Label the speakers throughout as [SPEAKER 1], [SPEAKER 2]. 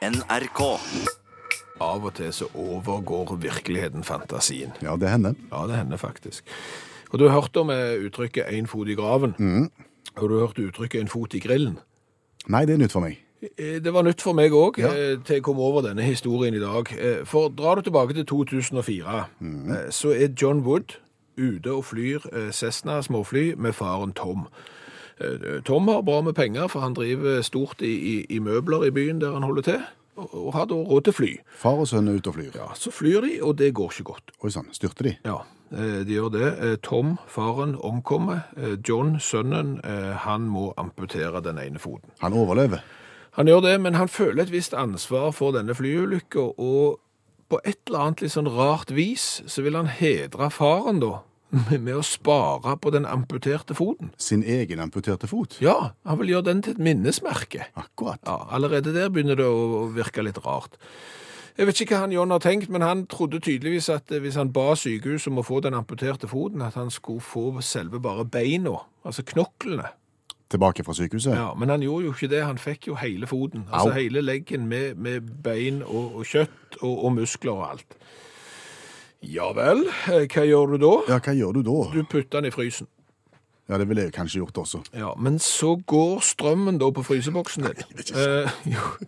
[SPEAKER 1] NRK.
[SPEAKER 2] Av og til så overgår virkeligheten fantasien.
[SPEAKER 3] Ja, det hender.
[SPEAKER 2] Ja, det hender faktisk. Og du har hørt om eh, uttrykket 'én fot i graven'. Og du har hørt uttrykket 'en fot i grillen'.
[SPEAKER 3] Nei, det er nytt for meg.
[SPEAKER 2] Eh, Det var nytt for meg òg,
[SPEAKER 3] Ja.
[SPEAKER 2] til jeg kom over denne historien i dag. Eh, For drar du tilbake til 2004, eh, så er John Wood ute og flyr eh, Cessna småfly med faren Tom. Eh, Tom har bra med penger, for han driver stort i, i, i møbler i byen der han holder til, og, og har da råd til fly.
[SPEAKER 3] Far og sønn er ute og flyr.
[SPEAKER 2] Ja, Så flyr de, og det går ikke godt.
[SPEAKER 3] Oi sann, styrter de?
[SPEAKER 2] Ja, eh, de gjør det. Eh, Tom, faren, omkommer. Eh, John, sønnen, eh, han må amputere den ene foten.
[SPEAKER 3] Han overlever.
[SPEAKER 2] Han gjør det, men han føler et visst ansvar for denne flyulykka, og på et eller annet litt sånn rart vis så vil han hedre faren da, med med å spare på den amputerte foten.
[SPEAKER 3] Sin egen amputerte fot.
[SPEAKER 2] Ja, han vil gjøre den til et minnesmerke.
[SPEAKER 3] Akkurat.
[SPEAKER 2] Ja, allerede der begynner det å å virke litt rart. Jeg vet ikke hva han John har tenkt, men han trodde tydeligvis at eh, hvis han ba sykehuset om å få den amputerte foten, at han skulle få selve bare beina, altså knoklene.
[SPEAKER 3] Tilbake fra sykehuset.
[SPEAKER 2] Ja, men han gjorde jo ikke det, han fikk jo hele foten, altså
[SPEAKER 3] Au.
[SPEAKER 2] hele leggen med, med bein og, og kjøtt og, og muskler og alt. Ja vel, eh, hva gjør du da?
[SPEAKER 3] Ja, hva gjør du da?
[SPEAKER 2] Du putter den i frysen.
[SPEAKER 3] Ja, det ville jeg kanskje gjort også.
[SPEAKER 2] Ja, men så går strømmen da på fryseboksen din. Eh, jo.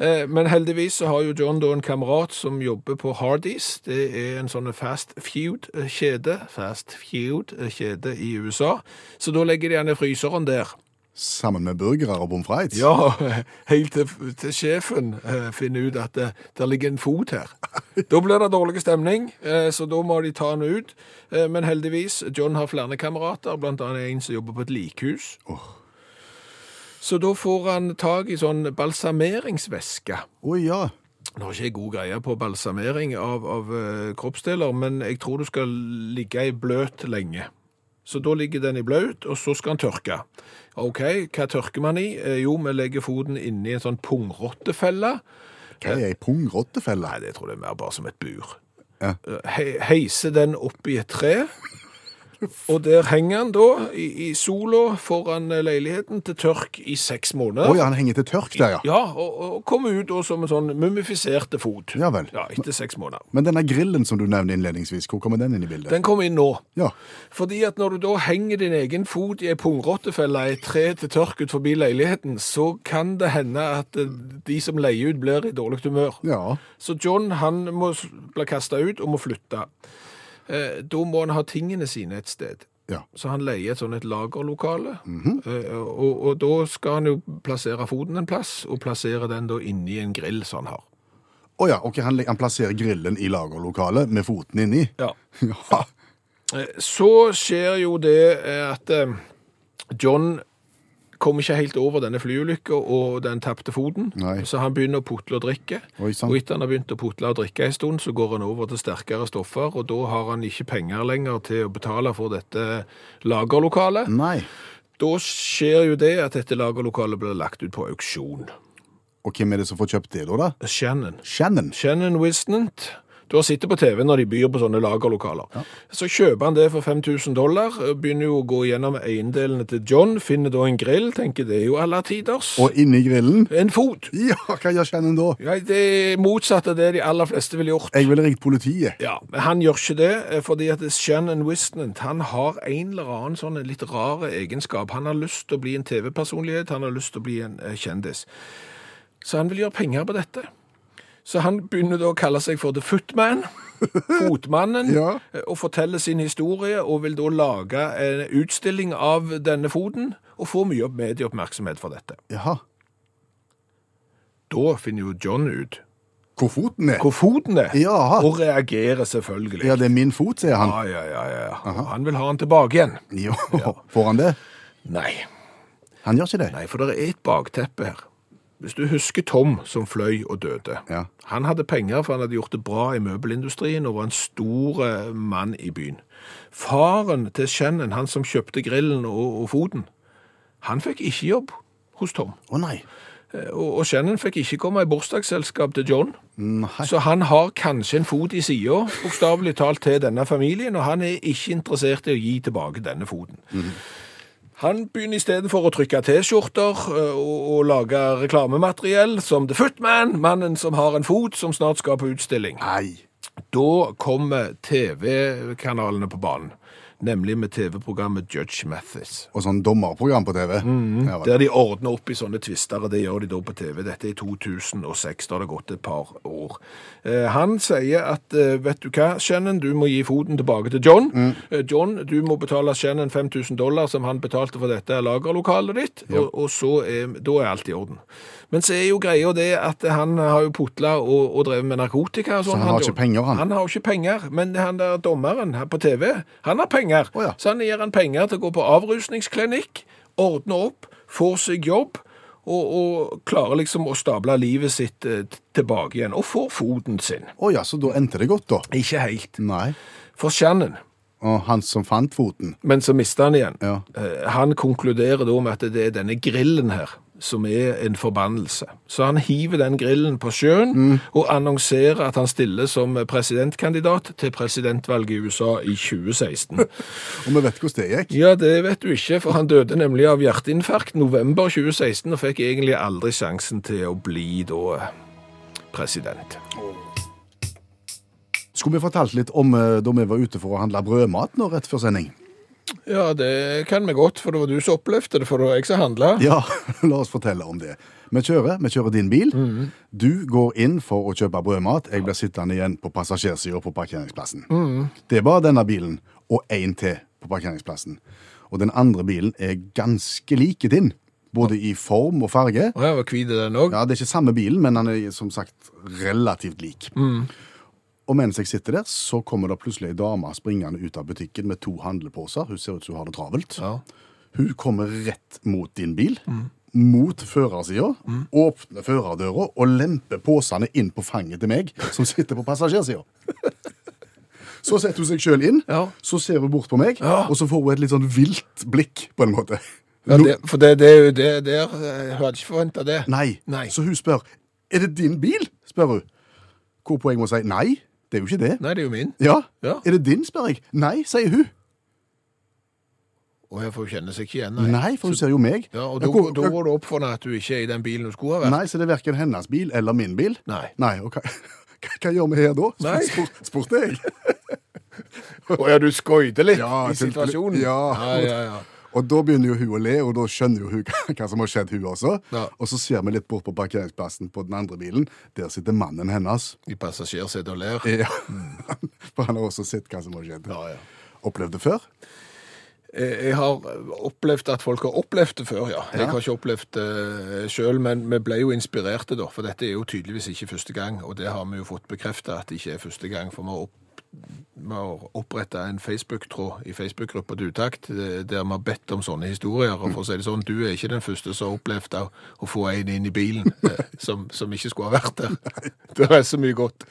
[SPEAKER 2] Eh, men heldigvis så har jo John da en kamerat som jobber på Hardys. Det er en sånn fast feud-kjede. Fast feud-kjede i USA. Så da legger de han i fryseren der.
[SPEAKER 3] Sammen med burgere og pommes frites.
[SPEAKER 2] Ja, helt til, til sjefen eh, finner ut at det, der ligger en fot her. Da blir det dårlig stemning, eh, så da må de ta han ut. Eh, men heldigvis, John har flere kamerater, blant annet en som jobber på et likhus. Så da får han tak i sånn balsameringsvæske.
[SPEAKER 3] Å ja.
[SPEAKER 2] Nå har ikke jeg god greie på balsamering av, av eh, kroppsdeler, men jeg tror du skal ligge i bløt lenge. Så da ligger den i bløt, og så skal den tørke. Ok, hva tørker man i? Eh, Jo, vi legger foten inni en sånn pungrottefelle.
[SPEAKER 3] Hva er ei pungrottefelle?
[SPEAKER 2] Nei, det tror jeg er mer bare som et bur.
[SPEAKER 3] Ja.
[SPEAKER 2] Eh, He heise den opp i et tre, og der henger han da i, i sola foran eh, leiligheten til tørk i seks
[SPEAKER 3] Å
[SPEAKER 2] måneder.
[SPEAKER 3] ja, han henger til tørk der, ja.
[SPEAKER 2] Ja, og, og kom ut da som en sånn mumifiserte fot.
[SPEAKER 3] Ja vel.
[SPEAKER 2] Ja, etter seks måneder.
[SPEAKER 3] Men denne grillen som du nevnte innledningsvis, hvor kommer den inn i bildet?
[SPEAKER 2] Den kom inn nå.
[SPEAKER 3] Ja.
[SPEAKER 2] Fordi at når du da henger din egen fot i ei pungrottefelle, ei tre til tørk ut forbi leiligheten, så kan det hende at eh, de som leier ut, blir i dårlig humør.
[SPEAKER 3] Ja.
[SPEAKER 2] Så John han må s- bli kasta ut og må flytte. Eh, da må han ha tingene sine et sted.
[SPEAKER 3] Ja.
[SPEAKER 2] Så han leier et sånn et lagerlokale, eh, og, og da skal han jo plassere foten en plass, og plassere den da inni en grill som han har.
[SPEAKER 3] Å ja, ok, han, han plasserer grillen i lagerlokalet med foten inni.
[SPEAKER 2] Ja.
[SPEAKER 3] Ja.
[SPEAKER 2] Eh, Så skjer jo det eh, at eh, John kom ikke helt over denne flyulykka og den tapte foten,
[SPEAKER 3] Nei.
[SPEAKER 2] så han begynner å putle og drikke.
[SPEAKER 3] Oi, sant.
[SPEAKER 2] Og etter han har begynt å putle og drikke en stund, så går han over til sterkere stoffer, og da har han ikke penger lenger til å betale for dette lagerlokalet.
[SPEAKER 3] Nei.
[SPEAKER 2] Da skjer jo det at dette lagerlokalet blir lagt ut på auksjon.
[SPEAKER 3] Og hvem er det som får kjøpt det da, da?
[SPEAKER 2] Shannon.
[SPEAKER 3] Shannon.
[SPEAKER 2] Shannon Wisnant. Du har sittet på TV når de byr på sånne lagerlokaler. Så kjøper han det for 5000 dollar, eh, begynner jo å gå gjennom eiendelene til John, finner da en grill, tenker det er jo alle tiders.
[SPEAKER 3] Og inni grillen?
[SPEAKER 2] En fot!
[SPEAKER 3] Ja, hva gjør Shannon da?
[SPEAKER 2] Ja, det er motsatt av det de aller fleste ville gjort.
[SPEAKER 3] Jeg ville ringt politiet.
[SPEAKER 2] Ja, men han gjør ikke det, eh, fordi at Shannon Wisnant, han har en eller annen sånn en litt rare egenskap. Han har lyst til å bli en TV-personlighet, han har lyst til å bli en eh, kjendis. Så han vil gjøre penger på dette. Så han begynner da å kalle seg for The Footman, fotmannen,
[SPEAKER 3] Ja.
[SPEAKER 2] eh, og forteller sin historie, og vil da lage en utstilling av denne foten, og får mye opp- medieoppmerksomhet for dette.
[SPEAKER 3] Jaha.
[SPEAKER 2] Da finner jo John ut
[SPEAKER 3] Hvor foten er?
[SPEAKER 2] hvor foten er,
[SPEAKER 3] Ja.
[SPEAKER 2] og reagerer selvfølgelig.
[SPEAKER 3] Ja, det er min fot, sier han.
[SPEAKER 2] Ja, ja, ja, ja. Og Han vil ha han tilbake igjen.
[SPEAKER 3] Jo, får han det?
[SPEAKER 2] Nei.
[SPEAKER 3] Han gjør ikke det.
[SPEAKER 2] Nei, for det er et bakteppe her. Hvis du husker Tom som fløy og døde.
[SPEAKER 3] Ja.
[SPEAKER 2] Han hadde penger, for han hadde gjort det bra i møbelindustrien og var en stor eh, mann i byen. Faren til Shannon, han som kjøpte grillen og, og foten, han fikk ikke jobb hos Tom.
[SPEAKER 3] Å nei.
[SPEAKER 2] Eh, Og, og Shannon fikk ikke komme i bursdagsselskap til John.
[SPEAKER 3] Nei.
[SPEAKER 2] Så han har kanskje en fot i sida, bokstavelig talt, til denne familien, og han er ikke interessert i å gi tilbake denne foten. Han begynner istedenfor å trykke T-skjorter eh, og, og lage reklamemateriell som The Footman, mannen som har en fot som snart skal på utstilling.
[SPEAKER 3] Nei.
[SPEAKER 2] Da kommer TV-kanalene på banen, nemlig med TV-programmet Judge Mathis.
[SPEAKER 3] Og sånn dommerprogram på TV. ja, vel.
[SPEAKER 2] Der de ordner opp i sånne tvister, og det gjør de da på TV. Dette er i 2006, da har det gått et par år. Eh, han sier at eh, vet du hva, Shannon, du må gi foten tilbake til John.
[SPEAKER 3] Mm.
[SPEAKER 2] Eh, John, du må betale Shannon 5000 dollar som han betalte for dette lagerlokalet ditt, og, og så er, da er alt i orden. Men så er jo greia det at han har jo putla og, og drevet med narkotika og sånn.
[SPEAKER 3] Så han har ikke
[SPEAKER 2] John.
[SPEAKER 3] penger, han?
[SPEAKER 2] Han har jo ikke penger, men han der dommeren her på TV, han har penger.
[SPEAKER 3] Å ja.
[SPEAKER 2] Så han gir han penger til å gå på avrusningsklinikk, ordne opp, får seg jobb, og, og klarer liksom å stable livet sitt eh, t- tilbake igjen, og får foten sin.
[SPEAKER 3] Å ja, så da endte det godt, da.
[SPEAKER 2] Ikke helt.
[SPEAKER 3] Nei.
[SPEAKER 2] For Shannon,
[SPEAKER 3] Og han som fant foten.
[SPEAKER 2] men så mister han igjen,
[SPEAKER 3] Ja.
[SPEAKER 2] eh, han konkluderer da med at det er denne grillen her, som er en forbannelse. Så han hiver den grillen på sjøen, og annonserer at han stiller som presidentkandidat til presidentvalget i USA i 2016.
[SPEAKER 3] Og vi vet hvordan det gikk.
[SPEAKER 2] Ja, det vet du ikke, for han døde nemlig av hjerteinfarkt november 2016 og fikk egentlig aldri sjansen til å bli da president.
[SPEAKER 3] Skulle vi fortalt litt om eh, da vi var ute for å handle brødmat nå rett før sending?
[SPEAKER 2] Ja, det kan vi godt, for det var du som opplevde det, for det var jeg som handla.
[SPEAKER 3] Ja, la oss fortelle om det. Vi kjører, vi kjører din bil. Du går inn for å kjøpe brødmat. Jeg blir sittende igjen på passasjersida på parkeringsplassen. Det er bare denne bilen og én til på parkeringsplassen. Og den andre bilen er ganske like din, både i form og farge.
[SPEAKER 2] Og jeg var hvit i den òg.
[SPEAKER 3] Ja, Det er ikke samme bilen, men han er som sagt relativt lik.
[SPEAKER 2] Mm.
[SPEAKER 3] Og mens jeg sitter der, så kommer det plutselig ei dame springende ut av butikken med to handleposer. Hun ser ut som hun har det travelt.
[SPEAKER 2] Ja. Mm.
[SPEAKER 3] Hun kommer rett mot din bil, mot førersida, åpner førerdøra og lemper posene inn på fanget til meg, som sitter på passasjersida. Så setter hun seg sjøl inn,
[SPEAKER 2] Ja.
[SPEAKER 3] så ser hun bort på meg,
[SPEAKER 2] Ja.
[SPEAKER 3] og så får hun et litt sånn vilt blikk, på en måte.
[SPEAKER 2] Ja,
[SPEAKER 3] Lo-
[SPEAKER 2] det, for det, det er jo det der Jeg hadde ikke forventa det.
[SPEAKER 3] Nei.
[SPEAKER 2] Nei.
[SPEAKER 3] Så hun spør Er det din bil? spør hun. Hvorpå jeg må si nei. Det er jo ikke det.
[SPEAKER 2] Nei, det er jo min.
[SPEAKER 3] Ja.
[SPEAKER 2] Ja.
[SPEAKER 3] Er det din? spør jeg. Nei, sier hun.
[SPEAKER 2] Og jeg får kjenne seg ikke igjen.
[SPEAKER 3] Nei, for hun ser jo meg.
[SPEAKER 2] Ja, og
[SPEAKER 3] Ja,
[SPEAKER 2] da
[SPEAKER 3] hvor-
[SPEAKER 2] da går det opp for deg at du ikke er i den bilen du skulle ha vært.
[SPEAKER 3] Nei, så det er verken hennes bil eller min bil.
[SPEAKER 2] Nei.
[SPEAKER 3] Nei, og hva, hva, hva gjør vi her da? Spør-
[SPEAKER 2] Nei.
[SPEAKER 3] spør- Spurte jeg.
[SPEAKER 2] Å ja, du skøyter litt
[SPEAKER 3] Ja,
[SPEAKER 2] i
[SPEAKER 3] selvfølgelig.
[SPEAKER 2] situasjonen.
[SPEAKER 3] Ja.
[SPEAKER 2] ja, ja, ja.
[SPEAKER 3] Og da begynner jo hun å le, og da skjønner jo hun hva, hva som har skjedd, hun også.
[SPEAKER 2] Ja.
[SPEAKER 3] Og så ser vi litt bort på parkeringsplassen på den andre bilen. Der sitter mannen hennes.
[SPEAKER 2] I passasjersetet og ler.
[SPEAKER 3] Ja. For han har også sett hva som har skjedd.
[SPEAKER 2] Ja, ja.
[SPEAKER 3] Opplevd det før?
[SPEAKER 2] Eh, Jeg har opplevd at folk har opplevd det før, ja. Jeg har ikke opplevd det sjøl, men vi ble jo inspirerte da. For dette er jo tydeligvis ikke første gang, og det har vi jo fått bekrefta at det ikke er første gang. For vi har, opp, vi har oppretta en Facebook-tråd i Facebook-gruppa til utakt, eh, der vi har bedt om sånne historier. Og for å si det sånn, du er ikke den første som har opplevd å, å få en inn i bilen eh, som, som ikke skulle ha vært der. Det er så mye godt.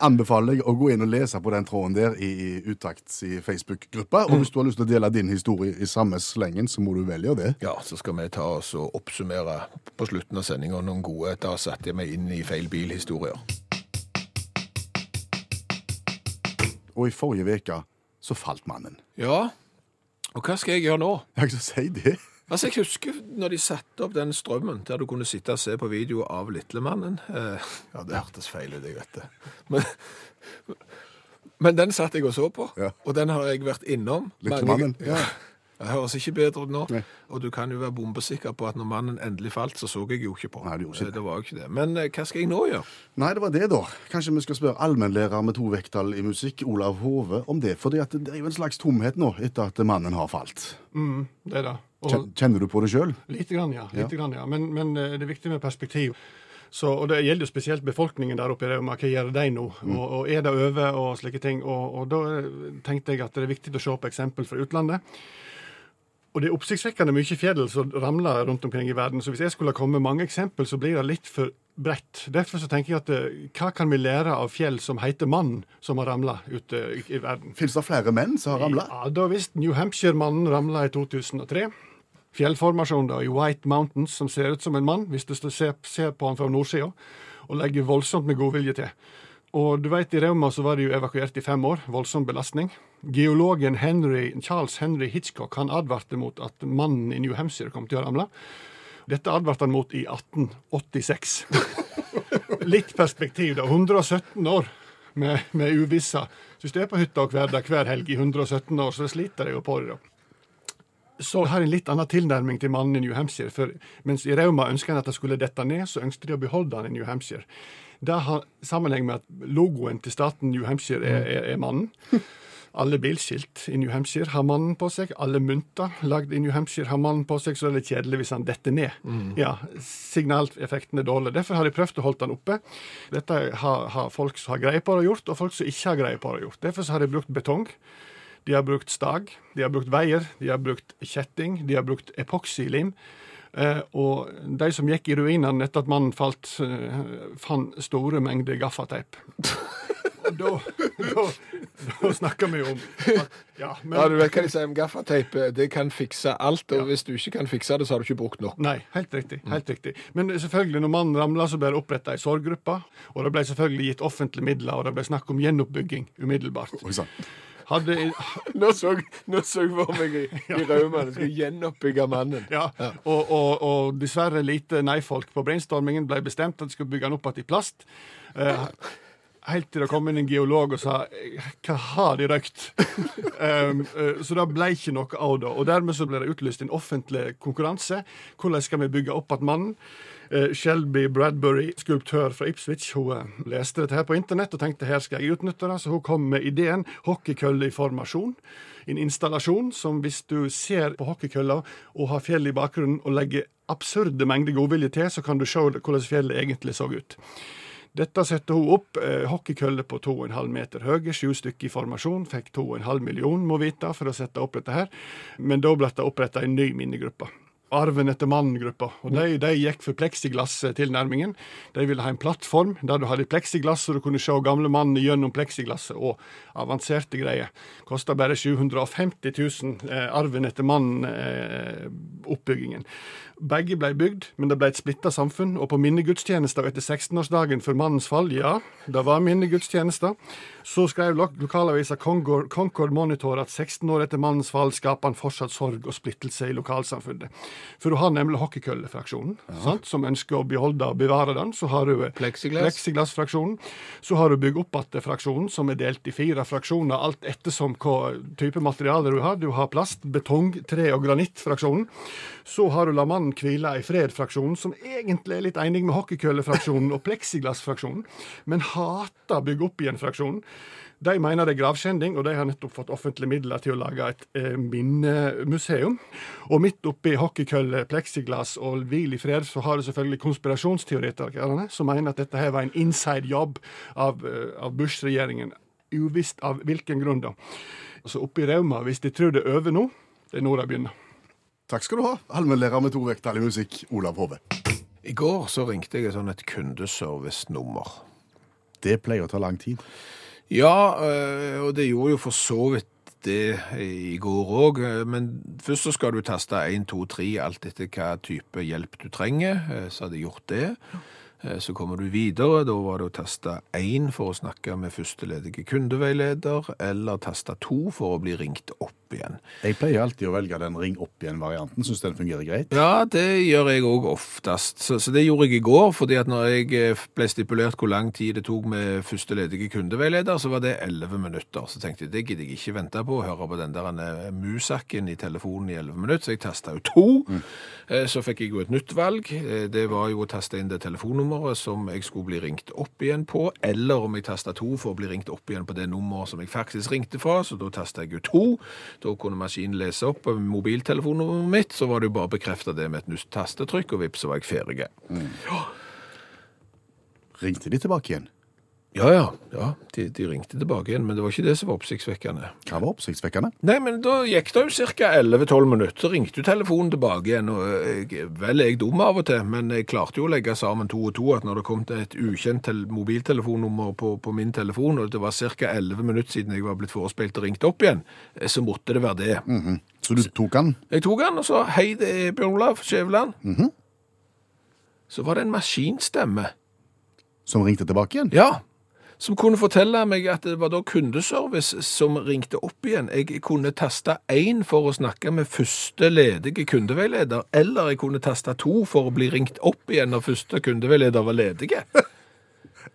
[SPEAKER 3] anbefaler jeg å gå inn og lese på den tråden der i, i Utakts i Facebook-gruppa. Og hvis du har lyst til å dele din historie i samme slengen, så må du vel gjøre det.
[SPEAKER 2] Ja, så skal vi ta oss og oppsummere på slutten av sendinga noen gode Da satte jeg meg inn i feil bil-historier.
[SPEAKER 3] Og i forrige uke så falt mannen.
[SPEAKER 2] Ja, og hva skal jeg gjøre nå?
[SPEAKER 3] Jeg kan ikke si det.
[SPEAKER 2] Altså, Jeg husker når de satte opp den strømmen der du kunne sitte og se på video av Litlemannen. Eh, ja, det hørtes feil ut, jeg vet det. Men, men den satt jeg og så på,
[SPEAKER 3] Ja.
[SPEAKER 2] og den har jeg vært innom.
[SPEAKER 3] Lille
[SPEAKER 2] mange-
[SPEAKER 3] mannen, ja.
[SPEAKER 2] Ja. Det høres ikke bedre ut nå.
[SPEAKER 3] Nei.
[SPEAKER 2] Og du kan jo være bombesikker på at når mannen endelig falt, så så jeg jo ikke på.
[SPEAKER 3] Nei, du gjorde ikke
[SPEAKER 2] Eh, det var jo ikke det. Men eh, hva skal jeg nå gjøre?
[SPEAKER 3] Nei, det var det, da. Kanskje vi skal spørre allmennlærer med to vekttall i musikk, Olav Hove, om det. For det er jo en slags tomhet nå, etter at mannen har falt.
[SPEAKER 4] Mm, det er det. Og
[SPEAKER 3] Kjen- Kjenner du på det sjøl?
[SPEAKER 4] lite grann, ja. Lite Grann, ja. Men, men eh, det er viktig med perspektiv. Så, og Det gjelder jo spesielt befolkningen der oppe. i Rauma. Hva gjør de nå? Og, og Er det over og slike ting? Og, og Da eh, tenkte jeg at det er viktig å se på eksempel fra utlandet. Og Det er oppsiktsvekkende mye fjell som ramler rundt omkring i verden. så Hvis jeg skulle komme med mange eksempel, så blir det litt for bredt. Derfor så tenker jeg at eh, hva kan vi lære av fjell som heter mann, som har ramla ute i- i verden?
[SPEAKER 3] Fins det flere menn som har ramla?
[SPEAKER 4] Ja, da visst. New Hampshire-mannen ramla i 2003. Fjellformasjonen da, i White Mountains som ser ut som en mann, hvis du ser, ser på han fra nordsida, og legger voldsomt med godvilje til. Og du vet, i Rauma så var de jo evakuert i fem år. Voldsom belastning. Geologen Henry, Charles Henry Hitchcock han advarte mot at mannen i New Hampshire kom til å ramle. Dette advarte han mot i 1886. Litt perspektiv, da. 117 år med, med uvissa. Så hvis du er på hytta og hverdag hver helg i 117 år, så sliter jeg jo på det, da så har en litt annen tilnærming til mannen i New Hampshire. For mens i Rauma ønsket en at det skulle dette ned, så ønsket de å beholde han i New Hampshire. Det har sammenheng med at logoen til staten New Hampshire er, er, er mannen. Alle bilskilt i New Hampshire har mannen på seg. Alle mynter lagd i New Hampshire har mannen på seg, så det er litt kjedelig hvis han detter ned. Ja, Signaleffekten er dårlig. Derfor har de prøvd å holde han oppe. Dette har, har folk som har greie på det, gjort, og folk som ikke har greie på det, gjort. Derfor så har de brukt betong. De har brukt stag, de har brukt veier, de har brukt kjetting, de har brukt epoksylim. Eh, og de som gikk i ruinene etter at mannen falt, eh, fant store mengder gaffateip. Og da, da, da snakker vi jo om at, ja, men,
[SPEAKER 5] Ja, du vet hva de sier om gaffateip. Det kan fikse alt, og hvis du ikke kan fikse det, så har du ikke brukt nok.
[SPEAKER 4] Nei, helt riktig. helt riktig. Men selvfølgelig, når mannen ramla, så ble det oppretta ei sorggruppe. Og det ble selvfølgelig gitt offentlige midler, og det ble snakk om gjenoppbygging umiddelbart.
[SPEAKER 3] Oi sann.
[SPEAKER 4] Hadde,
[SPEAKER 5] Nå så, nå så jeg for meg i, i Rauma at jeg skulle gjenoppbygge mannen.
[SPEAKER 4] Ja, og, og, og dessverre lite nei-folk på brainstormingen ble bestemt at de skulle bygge den opp igjen i plast. Eh, helt til det kom inn en geolog og sa hva har de røykt? Em, eh, så det ble ikke noe av det. Og dermed så ble det utlyst en offentlig konkurranse. Hvordan skal vi bygge opp igjen mannen? Eh, Shelby Bradbury, skulptør fra Ipswich, hun eh, leste dette her på internett og tenkte her skal jeg utnytte det, så hun kom med ideen hockeykølle i formasjon. En installasjon som hvis du ser på hockeykølla og har fjell i bakgrunnen og legger absurde mengder godvilje til, så kan du se hvordan fjellet egentlig så ut. Dette setter hun opp. Eh, hockeykøller på 2,5 meter høye, sju stykker i formasjon. Fikk 2,5 million, må vite, for å sette opp dette her. Men da ble det oppretta en ny minnegruppe. Arven etter mannen-gruppa. Og de, de gikk for pleksiglass-tilnærmingen. De ville ha en plattform der du hadde pleksiglass, så du kunne se gamle mannen gjennom pleksiglasset. Og avanserte greier. Kosta bare 750 000, eh, arven etter mannen-oppbyggingen. Begge ble bygd, men det ble et splitta samfunn, og på minnegudstjenester etter 16-årsdagen for mannens fall, ja, det var minnegudstjenester, så skrev lo- lokalavisa Concord, Concord Monitor at 16 år etter mannens fall skaper han fortsatt sorg og splittelse i lokalsamfunnet. For hun har nemlig hockeykøllefraksjonen, sant, som ønsker å beholde og bevare den. Så har hun
[SPEAKER 5] Plexiglass.
[SPEAKER 4] plexiglassfraksjonen. Så har hun bygg opp igjen-fraksjonen, som er delt i fire fraksjoner, alt ettersom hva type materialer du har. Du har plast, betong, tre og granittfraksjonen. Så har du La mannen hvile i fred-fraksjonen, som egentlig er litt enig med hockeykøllefraksjonen og pleksiglassfraksjonen, men hater bygg opp igjen-fraksjonen. De mener det er gravskjending, og de har nettopp fått offentlige midler til å lage et eh, minnemuseum. Og midt oppi hockeykølle, pleksiglass og hvil i fred, så har du selvfølgelig konspirasjonsteoretikerne som mener at dette her var en inside job av, eh, av Bush-regjeringen. Uvisst av hvilken grunn, da. Så oppe i Rauma, hvis de tror det er over nå, det er nå det begynner.
[SPEAKER 3] Takk skal du ha, allmennlærer med to vekttall i musikk, Olav Hove.
[SPEAKER 5] I går så ringte jeg et sånn et kundeservice-nummer.
[SPEAKER 3] Det pleier å ta lang tid.
[SPEAKER 5] Ja, øh, og det gjorde jo for så vidt det i går òg, eh, men først så skal du taste 1, 2, 3, alt etter hva type hjelp du trenger. Eh, Så hadde jeg gjort det. Eh, Så kommer du videre. Da var det å taste 1 for å snakke med førsteledige kundeveileder, eller taste 2 for å bli ringt opp igjen.
[SPEAKER 3] Jeg pleier alltid å velge den ring opp igjen-varianten. Syns den fungerer greit.
[SPEAKER 5] Ja, det gjør jeg òg oftest. Så, så det gjorde jeg i går, fordi at når jeg eh, ble stipulert hvor lang tid det tok med første ledige kundeveileder, så var det 11 minutter. Så tenkte jeg det gidder jeg ikke vente på å høre på den der eh, musakken i telefonen i 11 minutter, så jeg tasta jo to. Eh, Så fikk jeg jo et nytt valg. Eh, Det var jo å taste inn det telefonnummeret som jeg skulle bli ringt opp igjen på, eller om jeg tasta to for å bli ringt opp igjen på det nummeret som jeg faktisk ringte fra, så da tasta jeg jo to. Da kunne maskinen lese opp mobiltelefonnummeret mitt, så var det jo bare å bekrefte det med et nytt tastetrykk, og vips, så var jeg ferdig.
[SPEAKER 3] Ringte de tilbake igjen?
[SPEAKER 5] Ja, ja, ja, de, de ringte tilbake igjen, men det var ikke det som var oppsiktsvekkende.
[SPEAKER 3] Hva var oppsiktsvekkende?
[SPEAKER 5] Nei, men da gikk det jo ca. 11-12 minutter, så ringte jo telefonen tilbake igjen, og eh, jeg, vel er jeg dum av og til, men jeg klarte jo å legge sammen to og to, at når det kom til et ukjent tel- mobiltelefonnummer på, på min telefon, og det var ca. 11 minutter siden jeg var blitt forespeilt og ringt opp igjen, eh, så måtte det være det.
[SPEAKER 3] Mhm. Så du tok den?
[SPEAKER 5] Jeg tok han og sa hei, det er Bjørn Olav Skjæveland. Så var det en maskinstemme.
[SPEAKER 3] som ringte tilbake igjen?
[SPEAKER 5] Ja. som kunne fortelle meg at det var da kundeservice som ringte opp igjen. Jeg kunne taste én for å snakke med første ledige kundeveileder, eller jeg kunne taste to for å bli ringt opp igjen når første kundeveileder var ledige.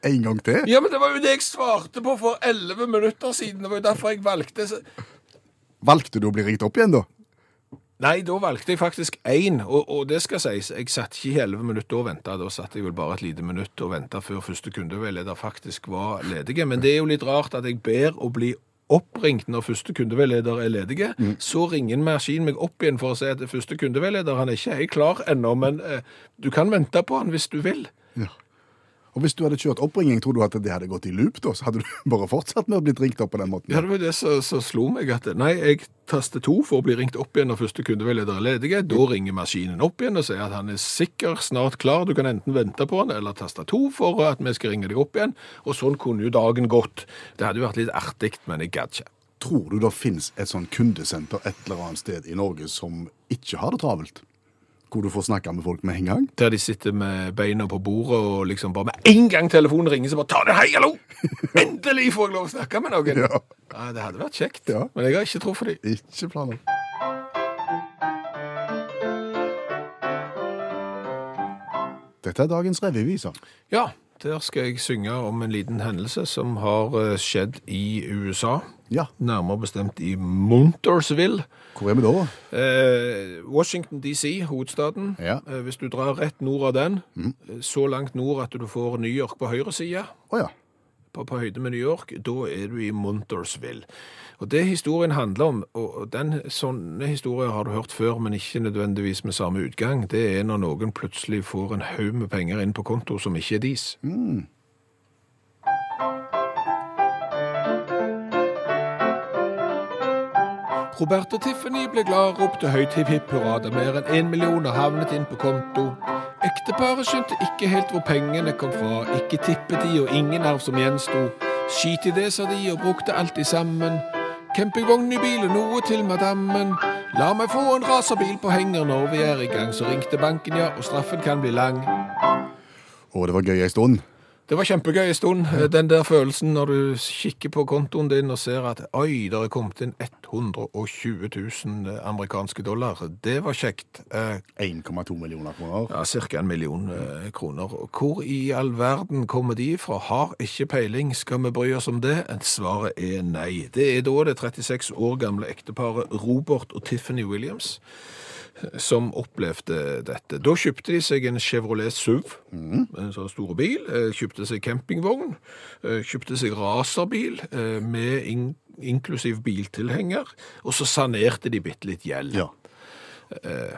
[SPEAKER 3] En gang til?
[SPEAKER 5] Ja, men det var jo det jeg svarte på for elleve minutter siden. Det var jo derfor jeg valgte så-
[SPEAKER 3] Valgte du å bli ringt opp igjen, da?
[SPEAKER 5] Nei, da valgte jeg faktisk én, og, og det skal sies. Jeg satt ikke i elleve minutter og venta. Da satt jeg vel bare et lite minutt og venta før første kundeveileder faktisk var ledige. Men det er jo litt rart at jeg ber å bli oppringt når første kundeveileder er ledige. Så ringer en maskin meg opp igjen for å si at første kundeveileder han er ikke helt klar ennå, men eh, du kan vente på han hvis du vil.
[SPEAKER 3] Og Hvis du hadde kjørt oppringning, tror du at det hadde gått i loop da? Så hadde du bare fortsatt med å bli ringt opp på den måten?
[SPEAKER 5] Ja, det var det som som slo meg at nei, jeg taster to for å bli ringt opp igjen når første kundeveileder er ledige. Da ringer maskinen opp igjen og sier at han er sikker, snart klar, du kan enten vente på han eller taste to for at vi skal ringe deg opp igjen. Og sånn kunne jo dagen gått. Det hadde jo vært litt artig, men jeg gadd ikke.
[SPEAKER 3] Tror du det finnes et sånn kundesenter et eller annet sted i Norge som ikke har det travelt? Hvor du får snakke med folk med en gang?
[SPEAKER 5] Der de sitter med beina på bordet og liksom bare med en gang telefonen ringer, så bare ta det, hei, hallo! Endelig får jeg lov å snakke med noen!
[SPEAKER 3] Ja.
[SPEAKER 5] Nei, det hadde vært kjekt,
[SPEAKER 3] Ja.
[SPEAKER 5] men jeg har ikke tro for dem.
[SPEAKER 3] Ikke planer. Dette er dagens revyviser.
[SPEAKER 5] Ja, der skal jeg synge om en liten hendelse som har eh, skjedd i USA.
[SPEAKER 3] Ja,
[SPEAKER 5] Nærmere bestemt i Montersville.
[SPEAKER 3] hvor er vi da?
[SPEAKER 5] Eh, Washington DC, hovedstaden.
[SPEAKER 3] Ja. Mm.
[SPEAKER 5] Eh, hvis du drar rett nord av den, eh, så langt nord at du får New York på høyre side,
[SPEAKER 3] Å ja.
[SPEAKER 5] på, på høyde med New York, da er du i Montersville. Og det historien handler om, og og den sånne historier har du hørt før, men ikke nødvendigvis med samme utgang, det er når noen plutselig får en haug med penger inn på konto som ikke er deres. Robert og Tiffany ble glad, ropte høyt hipp hipp hurra da mer enn én million har havnet inn på konto. Ekteparet skjønte ikke helt hvor pengene kom fra, ikke tippet de og ingen arv som gjensto. Skit i det, sa de og brukte alt i sammen. Campingvogn i bil og noe til madammen. La meg få en racerbil på henger når vi er i gang, så ringte banken, ja, og straffen kan bli lang.
[SPEAKER 3] Å, det var gøy ei stund.
[SPEAKER 5] Det var kjempegøy en stund, den der følelsen når du kikker på kontoen din og ser at oi, der er kommet inn 120 000 amerikanske dollar. Det var kjekt. Eh,
[SPEAKER 3] 1,2 millioner kroner.
[SPEAKER 5] Ja, Ca. en million eh, kroner. Hvor i all verden kommer de fra? Har ikke peiling, skal vi bry oss om det? Svaret er nei. Det er da det 36 år gamle ekteparet Robert og Tiffany Williams eh, som opplevde dette. Da kjøpte de seg en Chevrolet SUV, en sånn stor bil, eh, kjøpte seg campingvogn, eh, kjøpte seg raserbil eh, med in inklusiv biltilhenger, og så sanerte de bitte litt gjeld.
[SPEAKER 3] Ja.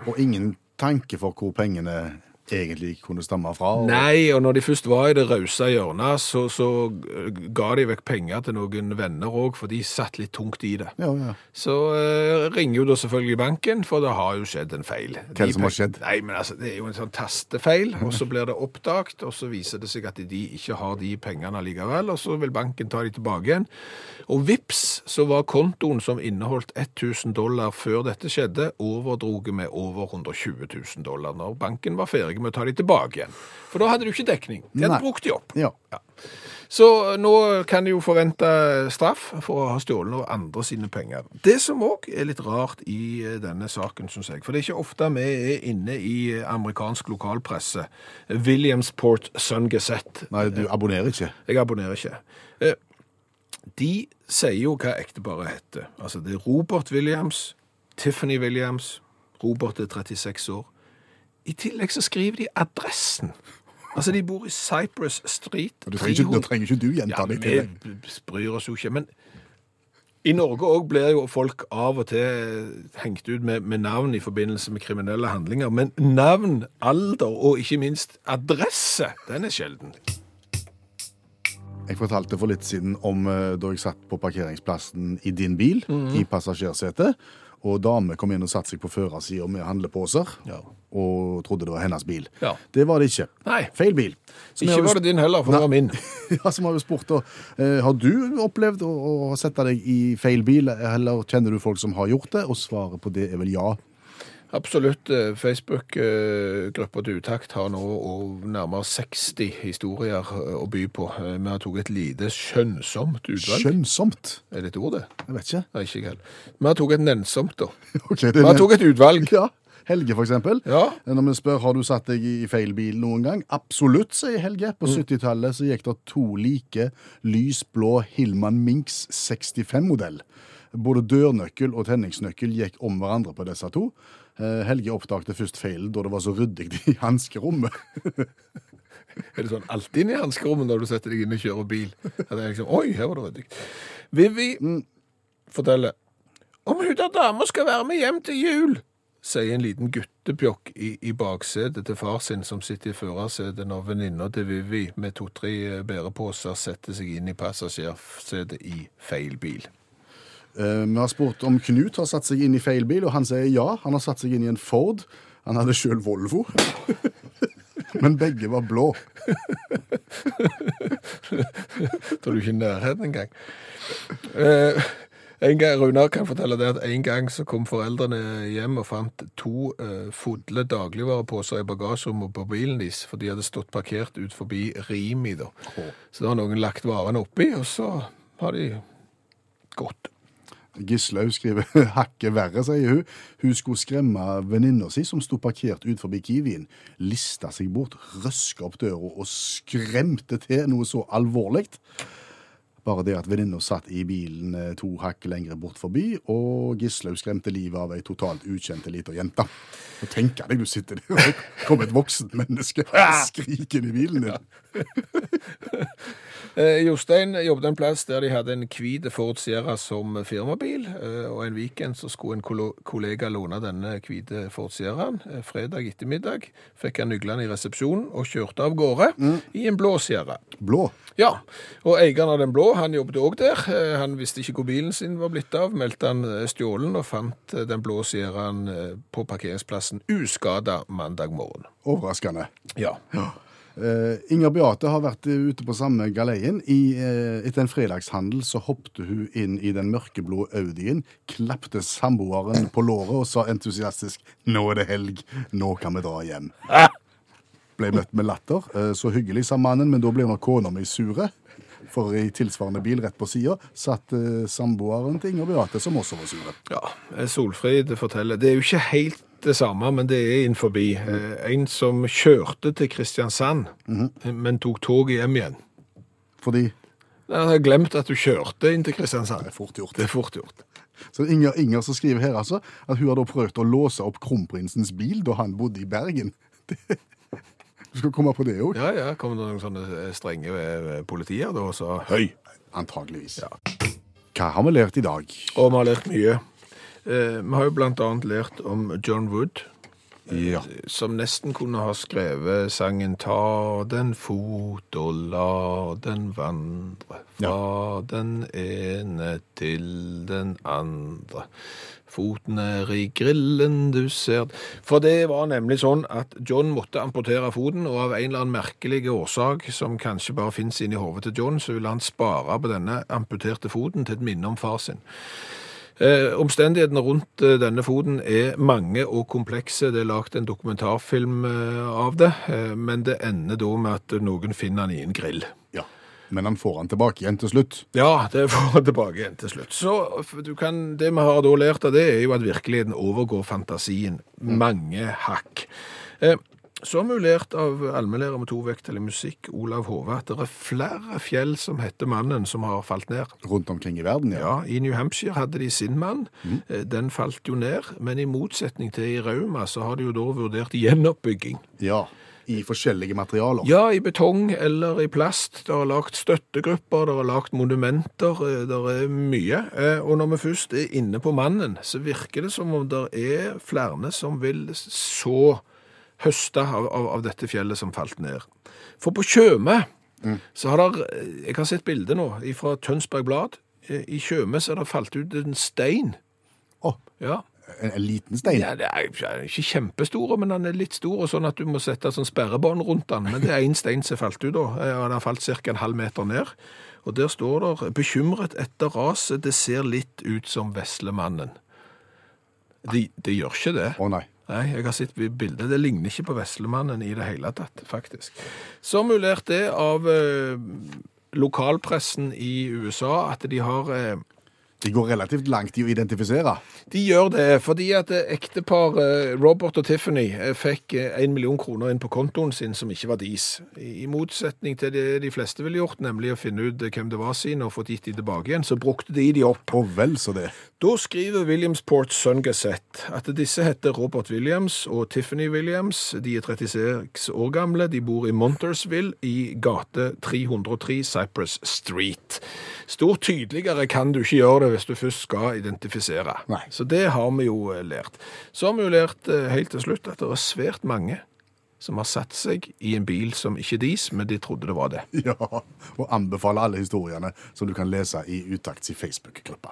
[SPEAKER 3] Og ingen tanke for hvor pengene egentlig kunne stamme fra. og-
[SPEAKER 5] Nei, og når de først var i det rause hjørnet, så, så eh, ga de vekk penger til noen venner òg, for de satt litt tungt i det.
[SPEAKER 3] Ja, ja.
[SPEAKER 5] Så eh, ringer jo da selvfølgelig banken, for det har jo skjedd en feil.
[SPEAKER 3] Hva er det som har skjedd?
[SPEAKER 5] Nei, men altså, Det er jo en sånn tastefeil, og så blir det oppdaget, og så viser det seg at de ikke har de pengene likevel, og så vil banken ta de tilbake igjen. Og vips, så var kontoen som inneholdt 1000 dollar før dette skjedde, overdroget med over 120 000 dollar når banken var ferdig med å ta de tilbake igjen. For da hadde du ikke dekning. De
[SPEAKER 3] Nei.
[SPEAKER 5] hadde brukt de opp.
[SPEAKER 3] Ja.
[SPEAKER 5] Så nå kan de jo forvente straff for å ha stjålet av andre sine penger. Det som òg er litt rart i eh, denne saken, syns jeg, for det er ikke ofte vi er inne i eh, amerikansk lokalpresse. Williamsport Sun Gazette.
[SPEAKER 3] Nei, du abonnerer ikke.
[SPEAKER 5] Jeg abonnerer ikke. Eh, De sier jo hva ekteparet heter. Altså, det er Robert Williams, Tiffany Williams. Robert er 36 år. I tillegg så skriver de adressen. Altså, de bor i Cypress Street.
[SPEAKER 3] Og Du trenger ikke, da
[SPEAKER 5] 300
[SPEAKER 3] trenger ikke du gjenta det. i
[SPEAKER 5] ja,
[SPEAKER 3] tillegg.
[SPEAKER 5] vi b- bryr oss jo ikke. Men i Norge òg blir jo folk av og til hengt ut med, med navn i forbindelse med kriminelle handlinger. Men navn, alder og ikke minst adresse, den er sjelden.
[SPEAKER 3] Jeg fortalte for litt siden om eh, da jeg satt på parkeringsplassen i din bil,
[SPEAKER 5] Mhm.
[SPEAKER 3] i passasjersetet, og dame kom inn og satte seg på førersida med handleposer,
[SPEAKER 5] Ja.
[SPEAKER 3] og trodde det var hennes bil.
[SPEAKER 5] Ja.
[SPEAKER 3] Det var det ikke.
[SPEAKER 5] Nei.
[SPEAKER 3] Feil bil. Som jeg
[SPEAKER 5] Ikke
[SPEAKER 3] har jo-
[SPEAKER 5] var det din heller, for det var min.
[SPEAKER 3] Ja, som har jo spurt, da, eh, har du opplevd å, å sette deg i feil bil, eller kjenner du folk som har gjort det? Og svaret på det er vel ja.
[SPEAKER 5] Absolutt. Eh, Facebook-gruppa til Utakt har nå og nærmere 60 historier eh, å by på. Eh, Vi har tatt et lite skjønnsomt utvalg.
[SPEAKER 3] Skjønnsomt?
[SPEAKER 5] Er det et ord, det?
[SPEAKER 3] Jeg vet ikke.
[SPEAKER 5] Nei, ikke helt. Vi har tatt et nennsomt, da.
[SPEAKER 3] Ok, det er
[SPEAKER 5] Vi har
[SPEAKER 3] det.
[SPEAKER 5] tatt et utvalg.
[SPEAKER 3] Ja. Helge, for eksempel.
[SPEAKER 5] Ja.
[SPEAKER 3] Når vi spør har du satt deg i feil bil noen gang, absolutt, sier Helge. På 70-tallet så gikk det to like lysblå Hillman Minks 65-modell. Både dørnøkkel og tenningsnøkkel gikk om hverandre på disse to. Eh, Helge oppdagte først feilen da det var så ryddig i hanskerommet.
[SPEAKER 5] Er det sånn alltid inne i hanskerommet når du setter deg inn og kjører bil? At det er liksom, Oi, her var det ryddig. Vivi forteller om hun der dama skal være med hjem til jul, sier en liten guttepjokk i, i baksetet til far sin, som sitter i førersetet når venninna til Vivi med to-tre eh, bæreposer setter seg inn i passasjersetet i feil bil.
[SPEAKER 3] Eh, Vi har spurt om Knut har satt seg inn i feil bil, og han sier ja. Han har satt seg inn i en Ford. Han hadde sjøl Volvo. Men begge var blå.
[SPEAKER 5] Da er du ikke i nærheten engang. Eh, en gang, Runar kan fortelle det at en gang så kom foreldrene hjem og fant to eh, fulle dagligvareposer i bagasjerommet på bilen deres, for de hadde stått parkert ut forbi Rimi. da. Så da har noen lagt varene oppi, og så har de gått.
[SPEAKER 3] Gislaug skriver hakket verre, sier hun. Hun skulle skremme venninna si, som sto parkert ut forbi Kiwien. Lista seg bort, røska opp døra og skremte til noe så alvorlig. Bare det at venninna satt i bilen eh, to hakk lenger bort forbi, og Gislaug skremte livet av ei totalt ukjent lita jente. Og tenker deg, du sitter der og kommer et voksent menneske skrikende i bilen din.
[SPEAKER 5] Eh, Jostein jobbet en plass der de hadde en hvit Ford Sierra som firmabil, eh, og en weekend så skulle en kolo- kollega låne denne hvite Ford Sierraen. Eh, Fredag ettermiddag fikk han nøklene i resepsjonen og kjørte av gårde i en blå Sierra.
[SPEAKER 3] Blå.
[SPEAKER 5] Ja, og eieren av den blå, han jobbet òg der. Eh, Han visste ikke hvor bilen sin var blitt av, meldte han eh, stjålen og fant eh, den blå Sierraen eh, på parkeringsplassen uskada mandag morgen.
[SPEAKER 3] Overraskende.
[SPEAKER 5] Ja.
[SPEAKER 3] Eh, Inger Beate har vært eh, ute på samme galeien. I, eh, etter en fredagshandel så hoppte hun inn i den mørkeblå Audien, klapte samboeren på låret og sa entusiastisk 'Nå er det helg. Nå kan vi dra hjem'. Ble møtt med latter. Eh, så hyggelig, sa mannen, men da ble nok kona mi sure. For i tilsvarende bil rett på sida satt eh, samboeren til Inger Beate, som også var sure.
[SPEAKER 5] Ja, eh, Solfrid forteller. Det er jo ikke helt det samme, men det er innenfor. Eh, En som kjørte til Kristiansand, men tok toget hjem igjen.
[SPEAKER 3] Fordi
[SPEAKER 5] Nei, Han har glemt at du kjørte inn til Kristiansand.
[SPEAKER 3] Det er fort gjort.
[SPEAKER 5] Det er fort gjort.
[SPEAKER 3] Så Inger, Inger som skriver her altså, at hun har da prøvd å låse opp kronprinsens bil da han bodde i Bergen. Det- Du skal komme på det òg?
[SPEAKER 5] Ja, ja, kom det noen sånne strenge eh, politier da og sa høy.
[SPEAKER 3] Antageligvis. Hva har vi lært i dag?
[SPEAKER 5] Og vi har lært mye. Eh, Vi har jo blant annet lært om John Wood,
[SPEAKER 3] Ja.
[SPEAKER 5] som nesten kunne ha skrevet sangen Ta den fot og la den vandre Fra den ene til den andre Foten er i grillen du ser For det var nemlig sånn at John måtte amputere foten Og av en eller annen merkelig årsak Som kanskje bare finnes inni hovedet til John Så ville han spare på denne amputerte foten Til et minne om far sin Eh, omstendighetene rundt eh, denne foten er mange og komplekse. Det er lagt en dokumentarfilm eh, av det, eh, men det ender da med at noen finner den i en grill.
[SPEAKER 3] ja. Men han får han tilbake igjen til slutt.
[SPEAKER 5] Ja, det får vi tilbake igjen til slutt. Så f- du kan, det vi har da lært av det, er jo at virkeligheten overgår fantasien. Mange hakk. Eh, så har vi jo lært av allmennlærer med to vekttall i musikk, Olav Hove, at det er flere fjell som heter Mannen som har falt ned.
[SPEAKER 3] Rundt omkring i verden, ja.
[SPEAKER 5] Ja, i New Hampshire hadde de sin mann. Eh, Den falt jo ned, men i motsetning til i Rauma så har de jo da vurdert gjenoppbygging.
[SPEAKER 3] Ja. I forskjellige materialer.
[SPEAKER 5] Ja, i betong eller i plast. Det er lagt støttegrupper, det er lagt monumenter, det er mye. Eh, Og når vi først er inne på mannen, så virker det som om det er flere som vil så høste av, av, av dette fjellet som falt ned. For på Tjøme så har der, eh, jeg har sett bilder nå fra Tønsberg Blad, Eh, i Tjøme så har det falt ut en stein.
[SPEAKER 3] Å,
[SPEAKER 5] Ja.
[SPEAKER 3] en, en liten stein.
[SPEAKER 5] Ja, det er ikke- ikke kjempestor, men han er litt stor, og sånn at du må sette sånn sperrebånd rundt han. Men det er én stein som falt ut, da. Eh, og Den har falt ca. en halv meter ned. Og der står det 'Bekymret etter raset, det ser litt ut som Veslemannen'. De, det gjør ikke det.
[SPEAKER 3] Å nei.
[SPEAKER 5] Nei, jeg har sett bildet. Det ligner ikke på Veslemannen i det hele tatt, faktisk. Så mulert det av eh, lokalpressen i USA at de har eh,
[SPEAKER 3] De går relativt langt i å identifisere.
[SPEAKER 5] De gjør det fordi at eh, ektepar eh, Robert og Tiffany eh, fikk eh, en million kroner inn på kontoen sin som ikke var deres. I i motsetning til det de fleste ville gjort, nemlig å finne ut eh, hvem det var sine og fått gitt de tilbake igjen, så brukte de de opp.
[SPEAKER 3] Og vel så det.
[SPEAKER 5] Da skriver Williamsport Sun Gazette at disse heter Robert Williams og Tiffany Williams. De er 36 år gamle, de bor i Montersville i gate 303 Cypress Street. Stort tydeligere kan du ikke gjøre det hvis du først skal identifisere.
[SPEAKER 3] Nei.
[SPEAKER 5] Så det har vi jo eh, lært. Så har vi jo lært eh, helt til slutt at det er svært mange som har satt seg i en bil som ikke er deres, men de trodde det var det.
[SPEAKER 3] Ja, Og anbefaler alle historiene som du kan lese i Utakts i Facebook-gruppa.